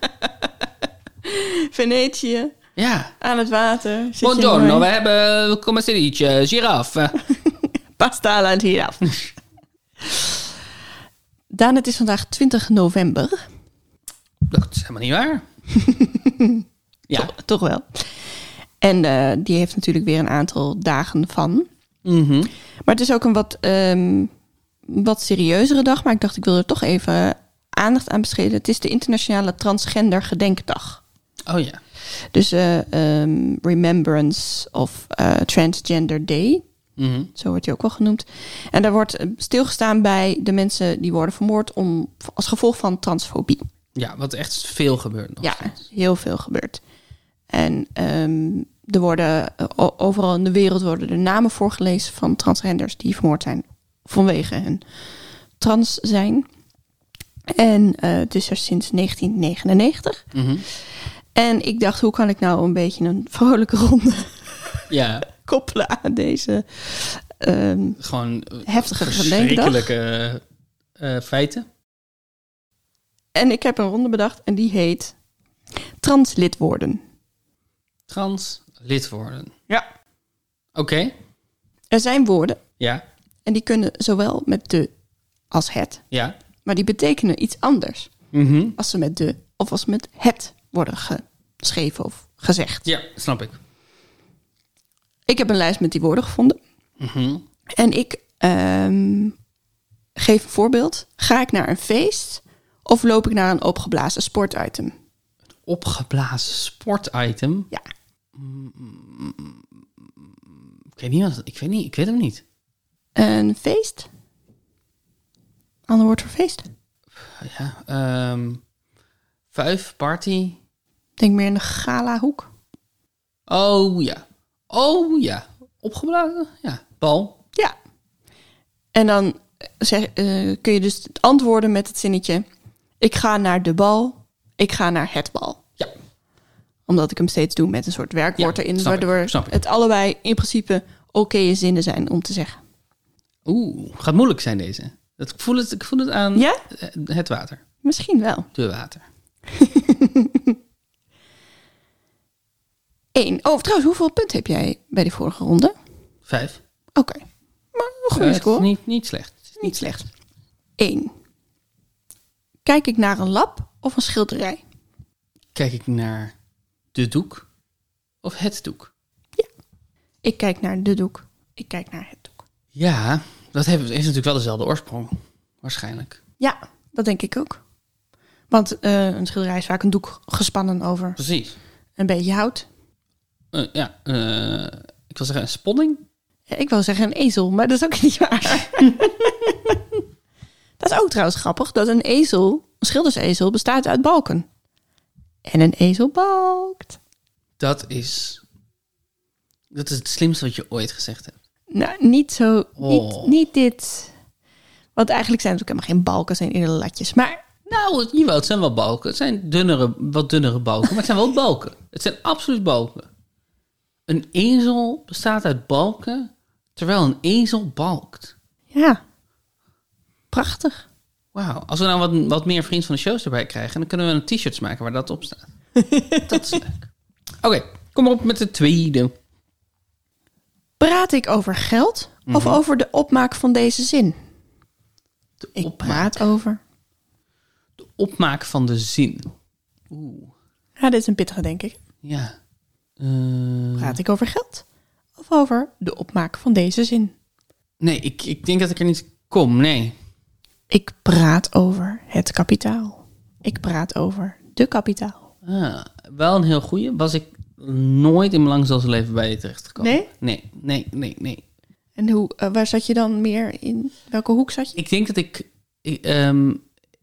[SPEAKER 2] Venetië,
[SPEAKER 1] Ja.
[SPEAKER 2] aan het water. zit je
[SPEAKER 1] Buongiorno,
[SPEAKER 2] mooi.
[SPEAKER 1] we hebben, come si dice, giraffe.
[SPEAKER 2] Pasta alla tira. Daan, het is vandaag 20 november.
[SPEAKER 1] Dat is helemaal niet waar. ja.
[SPEAKER 2] Toch, toch wel. En eh, die heeft natuurlijk weer een aantal dagen van.
[SPEAKER 1] Mhm.
[SPEAKER 2] Maar het is ook een wat, ehm, wat serieuzere dag. Maar ik dacht, ik wil er toch even aandacht aan besteden. Het is de Internationale Transgender Gedenkdag.
[SPEAKER 1] Oh ja.
[SPEAKER 2] Dus eh, ehm, Remembrance of eh, Transgender Day.
[SPEAKER 1] Mhm.
[SPEAKER 2] Zo wordt hij ook wel genoemd. En daar wordt eh, stilgestaan bij de mensen die worden vermoord om, als gevolg van transfobie.
[SPEAKER 1] Ja, wat echt veel gebeurt nog.
[SPEAKER 2] Ja, heel veel gebeurt. En ehm, er worden eh, o- overal in de wereld worden er namen voorgelezen van transgenders die vermoord zijn vanwege hun trans zijn. En eh, het is er sinds 1999.
[SPEAKER 1] Mhm.
[SPEAKER 2] En ik dacht, hoe kan ik nou een beetje een vrolijke ronde
[SPEAKER 1] Ja,
[SPEAKER 2] koppelen aan deze ehm,
[SPEAKER 1] gewoon eh,
[SPEAKER 2] heftige gedenkdag?
[SPEAKER 1] verschrikkelijke eh, eh, feiten.
[SPEAKER 2] En ik heb een ronde bedacht en die heet translid worden.
[SPEAKER 1] Trans lid worden.
[SPEAKER 2] Ja.
[SPEAKER 1] Oké,
[SPEAKER 2] Er zijn woorden
[SPEAKER 1] ja,
[SPEAKER 2] en die kunnen zowel met de als het,
[SPEAKER 1] ja.
[SPEAKER 2] maar die betekenen iets anders
[SPEAKER 1] Mhm.
[SPEAKER 2] als ze met de of als ze met het worden geschreven of gezegd.
[SPEAKER 1] Ja, snap ik.
[SPEAKER 2] Ik heb een lijst met die woorden gevonden
[SPEAKER 1] Mhm.
[SPEAKER 2] en ik ehm, geef een voorbeeld. Ga ik naar een feest of loop ik naar een opgeblazen sportitem?
[SPEAKER 1] Opgeblazen sportitem.
[SPEAKER 2] Ja,
[SPEAKER 1] Ik weet niet, wat, ik weet niet, ik weet hem niet.
[SPEAKER 2] een feest. Ander woord voor feest.
[SPEAKER 1] Ja, ehm, vuif, party.
[SPEAKER 2] Denk meer in de gala hoek.
[SPEAKER 1] Oh ja, oh ja. Opgeblazen, ja. Bal.
[SPEAKER 2] Ja. En dan zeg, eh, kun je dus antwoorden met het zinnetje: Ik ga naar de bal, ik ga naar het bal.
[SPEAKER 1] Ja,
[SPEAKER 2] Omdat ik hem steeds doe met een soort werkwoord
[SPEAKER 1] Ja,
[SPEAKER 2] erin,
[SPEAKER 1] snap ik,
[SPEAKER 2] waardoor
[SPEAKER 1] snap ik.
[SPEAKER 2] het allebei in principe oké zinnen zijn om te zeggen.
[SPEAKER 1] Oeh, gaat moeilijk zijn deze. Dat, ik, voel het, ik voel het aan
[SPEAKER 2] Ja?
[SPEAKER 1] eh, het water.
[SPEAKER 2] Misschien wel.
[SPEAKER 1] De water.
[SPEAKER 2] 1. Oh, trouwens, hoeveel punten heb jij bij die vorige ronde?
[SPEAKER 1] Vijf.
[SPEAKER 2] Oké. Maar een goede
[SPEAKER 1] Eh, het is
[SPEAKER 2] score.
[SPEAKER 1] Niet, niet slecht. Het is
[SPEAKER 2] Niet slecht. 1. Kijk ik naar een lab of een schilderij?
[SPEAKER 1] niet- Kijk ik naar de doek of het doek?
[SPEAKER 2] Ik kijk naar de doek. Ik kijk naar het doek.
[SPEAKER 1] Ja, dat heeft, heeft natuurlijk wel dezelfde oorsprong. Waarschijnlijk.
[SPEAKER 2] Ja, dat denk ik ook. Want eh, een schilderij is vaak een doek gespannen over
[SPEAKER 1] Precies.
[SPEAKER 2] een beetje hout.
[SPEAKER 1] Eh, ja, eh, ik wil zeggen een spanning.
[SPEAKER 2] Ik wou zeggen een ezel, maar dat is ook niet waar. dat is ook trouwens grappig, dat een ezel, een schildersezel, bestaat uit balken. En een ezel balkt.
[SPEAKER 1] Dat is. Dat is het slimste wat je ooit gezegd hebt.
[SPEAKER 2] Nou, niet zo,
[SPEAKER 1] Oh.
[SPEAKER 2] niet, niet dit. Want eigenlijk zijn het ook helemaal geen balken, zijn eerder latjes. Maar
[SPEAKER 1] Nou, het- jawel, het zijn wel balken. Het zijn dunnere, wat dunnere balken, maar het zijn wel balken. Het zijn absoluut balken. Een ezel bestaat uit balken, terwijl een ezel balkt.
[SPEAKER 2] ja, prachtig.
[SPEAKER 1] Wauw. Als we nou wat, wat meer vriend van de shows erbij krijgen, dan kunnen we een t-shirts maken waar dat op staat. dat is leuk. Oké, kom maar op met de tweede.
[SPEAKER 2] Praat ik over geld
[SPEAKER 1] Mhm.
[SPEAKER 2] of over de opmaak van deze zin?
[SPEAKER 1] De
[SPEAKER 2] Ik
[SPEAKER 1] opmaak.
[SPEAKER 2] praat over.
[SPEAKER 1] De opmaak van de zin. Oeh,
[SPEAKER 2] Ja, dit is een pittige, denk ik.
[SPEAKER 1] ja. Eh,
[SPEAKER 2] Praat ik over geld of over de opmaak van deze zin?
[SPEAKER 1] nee, ik, ik denk dat ik er niet kom. Nee.
[SPEAKER 2] Ik praat over het kapitaal. Ik praat over de kapitaal.
[SPEAKER 1] Ah, wel een heel goeie. Was ik nooit in mijn langzaamse leven bij je terechtgekomen.
[SPEAKER 2] Nee?
[SPEAKER 1] Nee, nee, nee, nee.
[SPEAKER 2] En hoe, eh, waar zat je dan meer in? Welke hoek zat je?
[SPEAKER 1] Ik denk dat ik... Ik, ehm,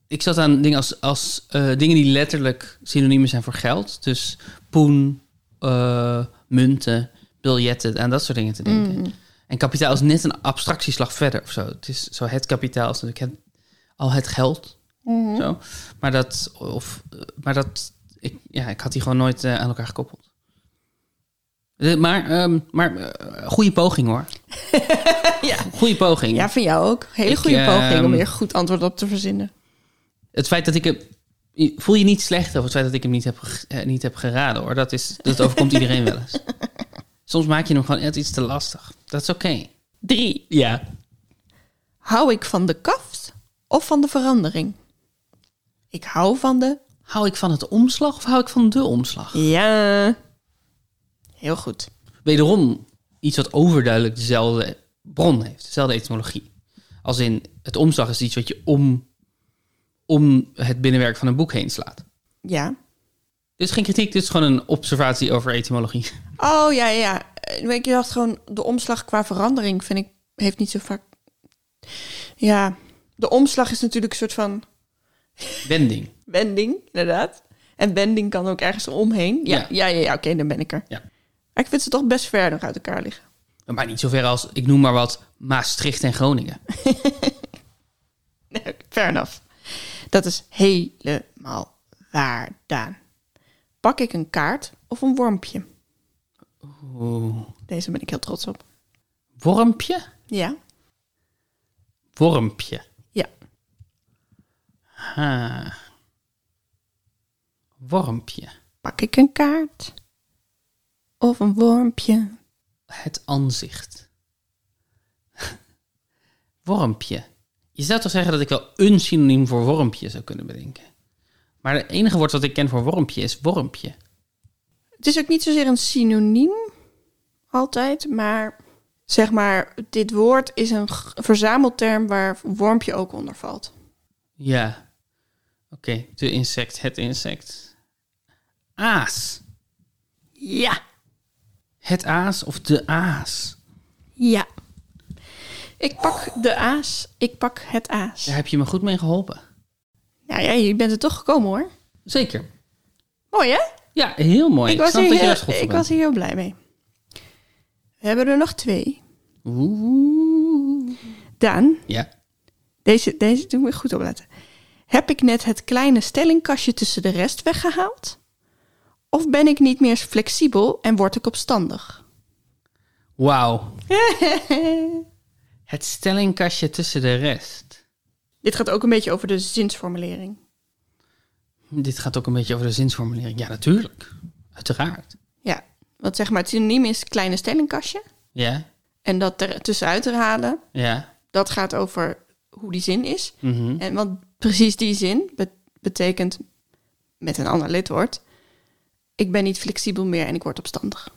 [SPEAKER 1] ik zat aan dingen, als, als, eh, dingen die letterlijk synoniemen zijn voor geld. Dus poen, eh, munten, biljetten, aan dat soort dingen te denken.
[SPEAKER 2] Mm.
[SPEAKER 1] En kapitaal is net een abstractieslag verder of zo. Het is zo het kapitaal is natuurlijk het, al het geld.
[SPEAKER 2] Mhm.
[SPEAKER 1] Zo. Maar dat... Of, eh, maar dat ik, ja, ik had die gewoon nooit eh, aan elkaar gekoppeld. Eh, Maar, ehm, maar eh, goede poging hoor.
[SPEAKER 2] Ja.
[SPEAKER 1] Goede poging.
[SPEAKER 2] Ja, van jou ook. Hele
[SPEAKER 1] Ik,
[SPEAKER 2] goede poging om
[SPEAKER 1] ehm,
[SPEAKER 2] weer goed antwoord op te verzinnen.
[SPEAKER 1] Het feit dat ik hem... Voel je niet slecht over het feit dat ik hem niet heb, ge- eh, niet heb geraden, hoor. Dat, is, dat overkomt iedereen wel eens. Soms maak je hem gewoon net iets te lastig. Dat is oké.
[SPEAKER 2] Drie.
[SPEAKER 1] Ja.
[SPEAKER 2] Hou ik van de kaft of van de verandering? Ik hou van de.
[SPEAKER 1] Hou ik van het omslag of hou ik van de omslag?
[SPEAKER 2] Ja. Heel goed.
[SPEAKER 1] Wederom iets wat overduidelijk dezelfde bron heeft. Dezelfde etymologie. Als in, het omslag is iets wat je om, om het binnenwerk van een boek heen slaat.
[SPEAKER 2] Ja.
[SPEAKER 1] Dit is geen kritiek, dit is gewoon een observatie over etymologie.
[SPEAKER 2] Oh ja, ja. Eh, Ik dacht gewoon, de omslag qua verandering vind ik, heeft niet zo vaak. Ja, de omslag is natuurlijk een soort van
[SPEAKER 1] Wending.
[SPEAKER 2] wending, inderdaad. En wending kan ook ergens omheen. Ja,
[SPEAKER 1] Ja.
[SPEAKER 2] ja, ja, ja, oké, dan ben ik er.
[SPEAKER 1] Ja.
[SPEAKER 2] Maar ik vind ze toch best ver nog uit elkaar liggen.
[SPEAKER 1] Maar niet zover als, ik noem maar wat, Maastricht en Groningen.
[SPEAKER 2] Nee, fair enough. Dat is helemaal waar, Daan. Pak ik een kaart of een wormpje?
[SPEAKER 1] Oeh.
[SPEAKER 2] Deze ben ik heel trots op.
[SPEAKER 1] Wormpje?
[SPEAKER 2] Ja,
[SPEAKER 1] Wormpje.
[SPEAKER 2] ja.
[SPEAKER 1] Ha. Wormpje.
[SPEAKER 2] Pak ik een kaart of een wormpje?
[SPEAKER 1] Het aanzicht. wormpje. Je zou toch zeggen dat ik wel een synoniem voor wormpje zou kunnen bedenken. Maar het enige woord dat ik ken voor wormpje is wormpje.
[SPEAKER 2] Het is ook niet zozeer een synoniem altijd, maar zeg maar, dit woord is een g- verzamelterm waar wormpje ook onder valt.
[SPEAKER 1] Ja. Oké, de insect, het insect. Aas.
[SPEAKER 2] Ja,
[SPEAKER 1] Het aas of de aas.
[SPEAKER 2] ja. Ik pak de aas, ik pak het aas.
[SPEAKER 1] Daar heb je me goed mee geholpen.
[SPEAKER 2] Nou ja, je bent er toch gekomen hoor.
[SPEAKER 1] Zeker.
[SPEAKER 2] Mooi hè?
[SPEAKER 1] Ja, heel mooi. Ik,
[SPEAKER 2] ik was,
[SPEAKER 1] snap
[SPEAKER 2] hier
[SPEAKER 1] dat je
[SPEAKER 2] heel,
[SPEAKER 1] daar goed voor
[SPEAKER 2] ik
[SPEAKER 1] bent.
[SPEAKER 2] was hier heel blij mee. We hebben er nog twee.
[SPEAKER 1] Oeh.
[SPEAKER 2] Daan,
[SPEAKER 1] Ja.
[SPEAKER 2] deze, deze doen we goed opletten. Heb ik net het kleine stellingkastje tussen de rest weggehaald? Of ben ik niet meer flexibel en word ik opstandig?
[SPEAKER 1] Wauw. het stellingkastje tussen de rest.
[SPEAKER 2] Dit gaat ook een beetje over de zinsformulering.
[SPEAKER 1] Dit gaat ook een beetje over de zinsformulering. Ja, natuurlijk. Uiteraard.
[SPEAKER 2] Ja, want zeg maar het synoniem is kleine stellingkastje.
[SPEAKER 1] Ja.
[SPEAKER 2] En dat er tussenuit herhalen,
[SPEAKER 1] Ja.
[SPEAKER 2] dat gaat over hoe die zin is.
[SPEAKER 1] Mhm.
[SPEAKER 2] En want precies die zin bet- betekent met een ander lidwoord... ik ben niet flexibel meer en ik word opstandig.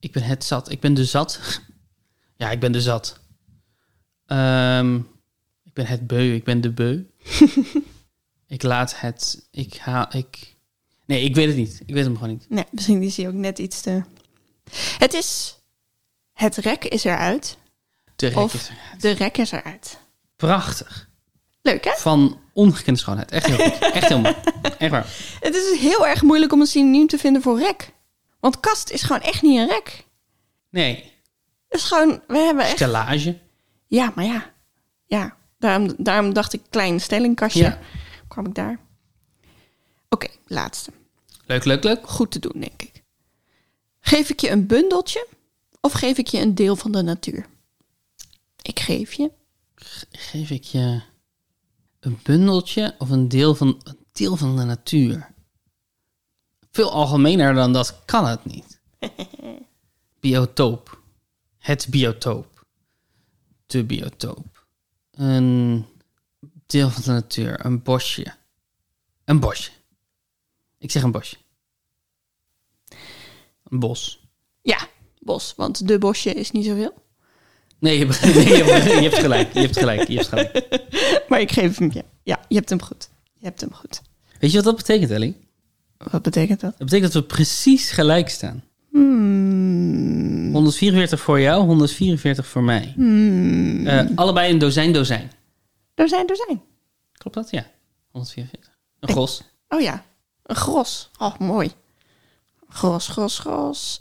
[SPEAKER 1] Ik ben het zat. Ik ben de zat. ja, ik ben de zat. Ehm, ik ben het beu. Ik ben de beu. ik laat het. Ik haal. Ik. Nee, ik weet het niet. Ik weet hem gewoon niet.
[SPEAKER 2] Nee, misschien is hij ook net iets te... Het is Het rek is eruit.
[SPEAKER 1] Te rek is
[SPEAKER 2] Of
[SPEAKER 1] er.
[SPEAKER 2] de rek is eruit.
[SPEAKER 1] Prachtig.
[SPEAKER 2] Leuk hè?
[SPEAKER 1] Van ongekende schoonheid. Echt heel goed. Echt heel mooi. Echt waar.
[SPEAKER 2] Het is heel erg moeilijk om een synoniem te vinden voor rek. Want kast is gewoon echt niet een rek.
[SPEAKER 1] Nee.
[SPEAKER 2] Het is gewoon, we hebben echt...
[SPEAKER 1] Stellage.
[SPEAKER 2] Ja, maar ja. Ja, daarom, daarom dacht ik klein stellingkastje.
[SPEAKER 1] Ja.
[SPEAKER 2] Kwam ik daar. Oké, laatste.
[SPEAKER 1] Leuk, leuk, leuk.
[SPEAKER 2] Goed te doen, denk ik. Geef ik je een bundeltje of geef ik je een deel van de natuur? Ik geef je.
[SPEAKER 1] Geef ik je een bundeltje of een deel van, een deel van de natuur? Veel algemener dan dat kan het niet. Biotoop. Het biotoop. De biotoop. Een deel van de natuur. Een bosje. Een bosje. Ik zeg een bosje. Een bos.
[SPEAKER 2] Ja, bos, want de bosje is niet zoveel.
[SPEAKER 1] Nee, je, hebt- nee, je hebt- je hebt gelijk. Je hebt gelijk. Je hebt gelijk.
[SPEAKER 2] Maar ik geef hem je. Ja, je hebt hem goed. Je hebt hem goed.
[SPEAKER 1] Weet je wat dat betekent, Ellie?
[SPEAKER 2] Wat betekent dat?
[SPEAKER 1] Dat betekent dat we precies gelijk staan.
[SPEAKER 2] Hmm.
[SPEAKER 1] 144 voor jou, 144 voor mij. Eh, allebei een dozijn dozijn.
[SPEAKER 2] Hmm. Er zijn, er zijn.
[SPEAKER 1] Klopt dat? Ja. 144. Een gros.
[SPEAKER 2] Oh ja, een gros. Oh, mooi. Gros, gros, gros.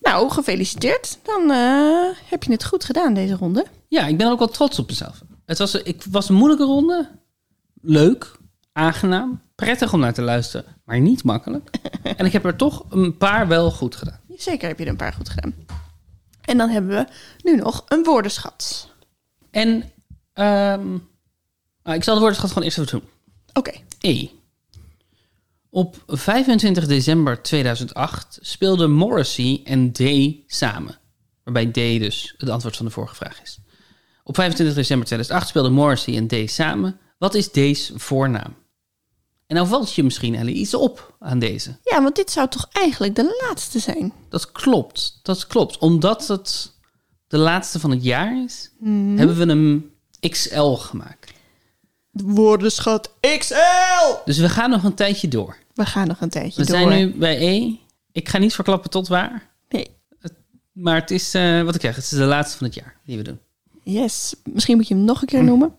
[SPEAKER 2] Nou, gefeliciteerd. Dan eh, heb je het goed gedaan deze ronde.
[SPEAKER 1] Ja, ik ben ook wel trots op mezelf. Het was, ik, was een moeilijke ronde. Leuk, aangenaam, prettig om naar te luisteren, maar niet makkelijk. en ik heb er toch een paar wel goed gedaan.
[SPEAKER 2] Zeker heb je er een paar goed gedaan. En dan hebben we nu nog een woordenschat.
[SPEAKER 1] En ehm, ah, ik zal de woordenschat gewoon eerst even doen.
[SPEAKER 2] Oké.
[SPEAKER 1] E. Op 25 december 2008 speelden Morrissey en D samen. Waarbij D dus het antwoord van de vorige vraag is. Op 25 december 2008 speelden Morrissey en D samen. Wat is D's voornaam? En nou valt je misschien Ellie iets op aan deze.
[SPEAKER 2] Ja, want dit zou toch eigenlijk de laatste zijn?
[SPEAKER 1] Dat klopt, dat klopt. Omdat het de laatste van het jaar is, hebben we hem XL gemaakt.
[SPEAKER 2] Woordenschat XL!
[SPEAKER 1] Dus we gaan nog een tijdje door.
[SPEAKER 2] We gaan nog een tijdje
[SPEAKER 1] We
[SPEAKER 2] door.
[SPEAKER 1] zijn nu bij E. Ik ga niet verklappen tot waar.
[SPEAKER 2] Nee.
[SPEAKER 1] Maar het is, eh, wat ik zeg, het is de laatste van het jaar die we doen.
[SPEAKER 2] Yes. Misschien moet je hem nog een keer noemen.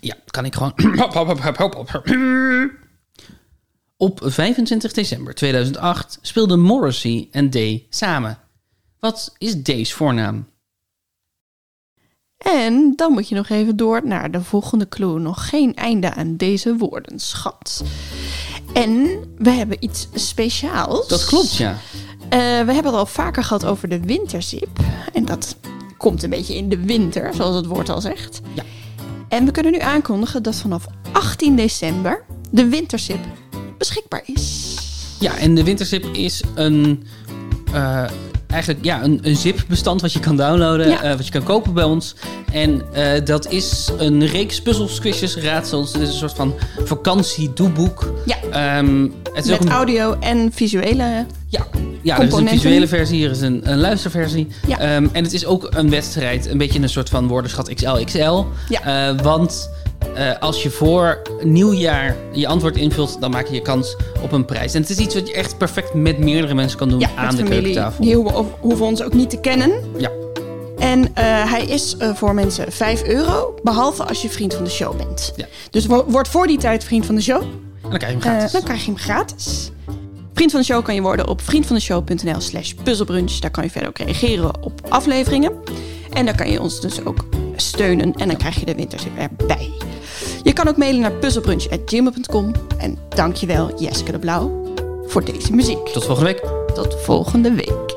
[SPEAKER 1] Ja, kan ik gewoon... Hop, hop, hop, hop, hop, hop. Op 25 december 2008 speelden Morrissey en D samen. Wat is D's voornaam?
[SPEAKER 2] En dan moet je nog even door naar de volgende clue. Nog geen einde aan deze woordenschat. En we hebben iets speciaals.
[SPEAKER 1] Dat klopt, ja.
[SPEAKER 2] Eh, we hebben het al vaker gehad over de winterzip. En dat komt een beetje in de winter, zoals het woord al zegt.
[SPEAKER 1] Ja.
[SPEAKER 2] En we kunnen nu aankondigen dat vanaf 18 december de winterzip beschikbaar is.
[SPEAKER 1] Ja, en de winterzip is een... eh, eigenlijk ja, een, een zip-bestand wat je kan downloaden,
[SPEAKER 2] Ja.
[SPEAKER 1] eh, wat je kan kopen bij ons. En eh, dat is een reeks puzzels, quizjes, raadsels. Het is een soort van vakantiedoeboek.
[SPEAKER 2] Ja.
[SPEAKER 1] Ehm, het is ook
[SPEAKER 2] Met
[SPEAKER 1] een
[SPEAKER 2] audio en visuele.
[SPEAKER 1] Ja, ja er is een
[SPEAKER 2] Componenten.
[SPEAKER 1] visuele versie, er is een, een luisterversie.
[SPEAKER 2] Ja.
[SPEAKER 1] Ehm, en het is ook een wedstrijd, een beetje een soort van woordenschat XLXL.
[SPEAKER 2] Ja.
[SPEAKER 1] Eh, want eh, als je voor nieuwjaar je antwoord invult, dan maak je je kans op een prijs. En het is iets wat je echt perfect met meerdere mensen kan doen
[SPEAKER 2] Ja,
[SPEAKER 1] aan
[SPEAKER 2] met
[SPEAKER 1] de
[SPEAKER 2] familie.
[SPEAKER 1] keukentafel.
[SPEAKER 2] Die hoeven, of- hoeven ons ook niet te kennen.
[SPEAKER 1] Ja,
[SPEAKER 2] En eh, hij is eh, voor mensen 5 euro, behalve als je vriend van de show bent.
[SPEAKER 1] Ja.
[SPEAKER 2] Dus wo- word voor die tijd vriend van de show.
[SPEAKER 1] en dan krijg je hem
[SPEAKER 2] Eh,
[SPEAKER 1] gratis.
[SPEAKER 2] dan krijg je hem gratis. Vriend van de show kan je worden op vriendvandeshow.nl slash puzzelbrunch. Daar kan je verder ook reageren op afleveringen. En daar kan je ons dus ook steunen. En dan krijg je de winterzip erbij. Je kan ook mailen naar puzzelbrunch.gmail.com. En dankjewel Jessica de Blauw voor deze muziek.
[SPEAKER 1] Tot volgende week.
[SPEAKER 2] Tot volgende week.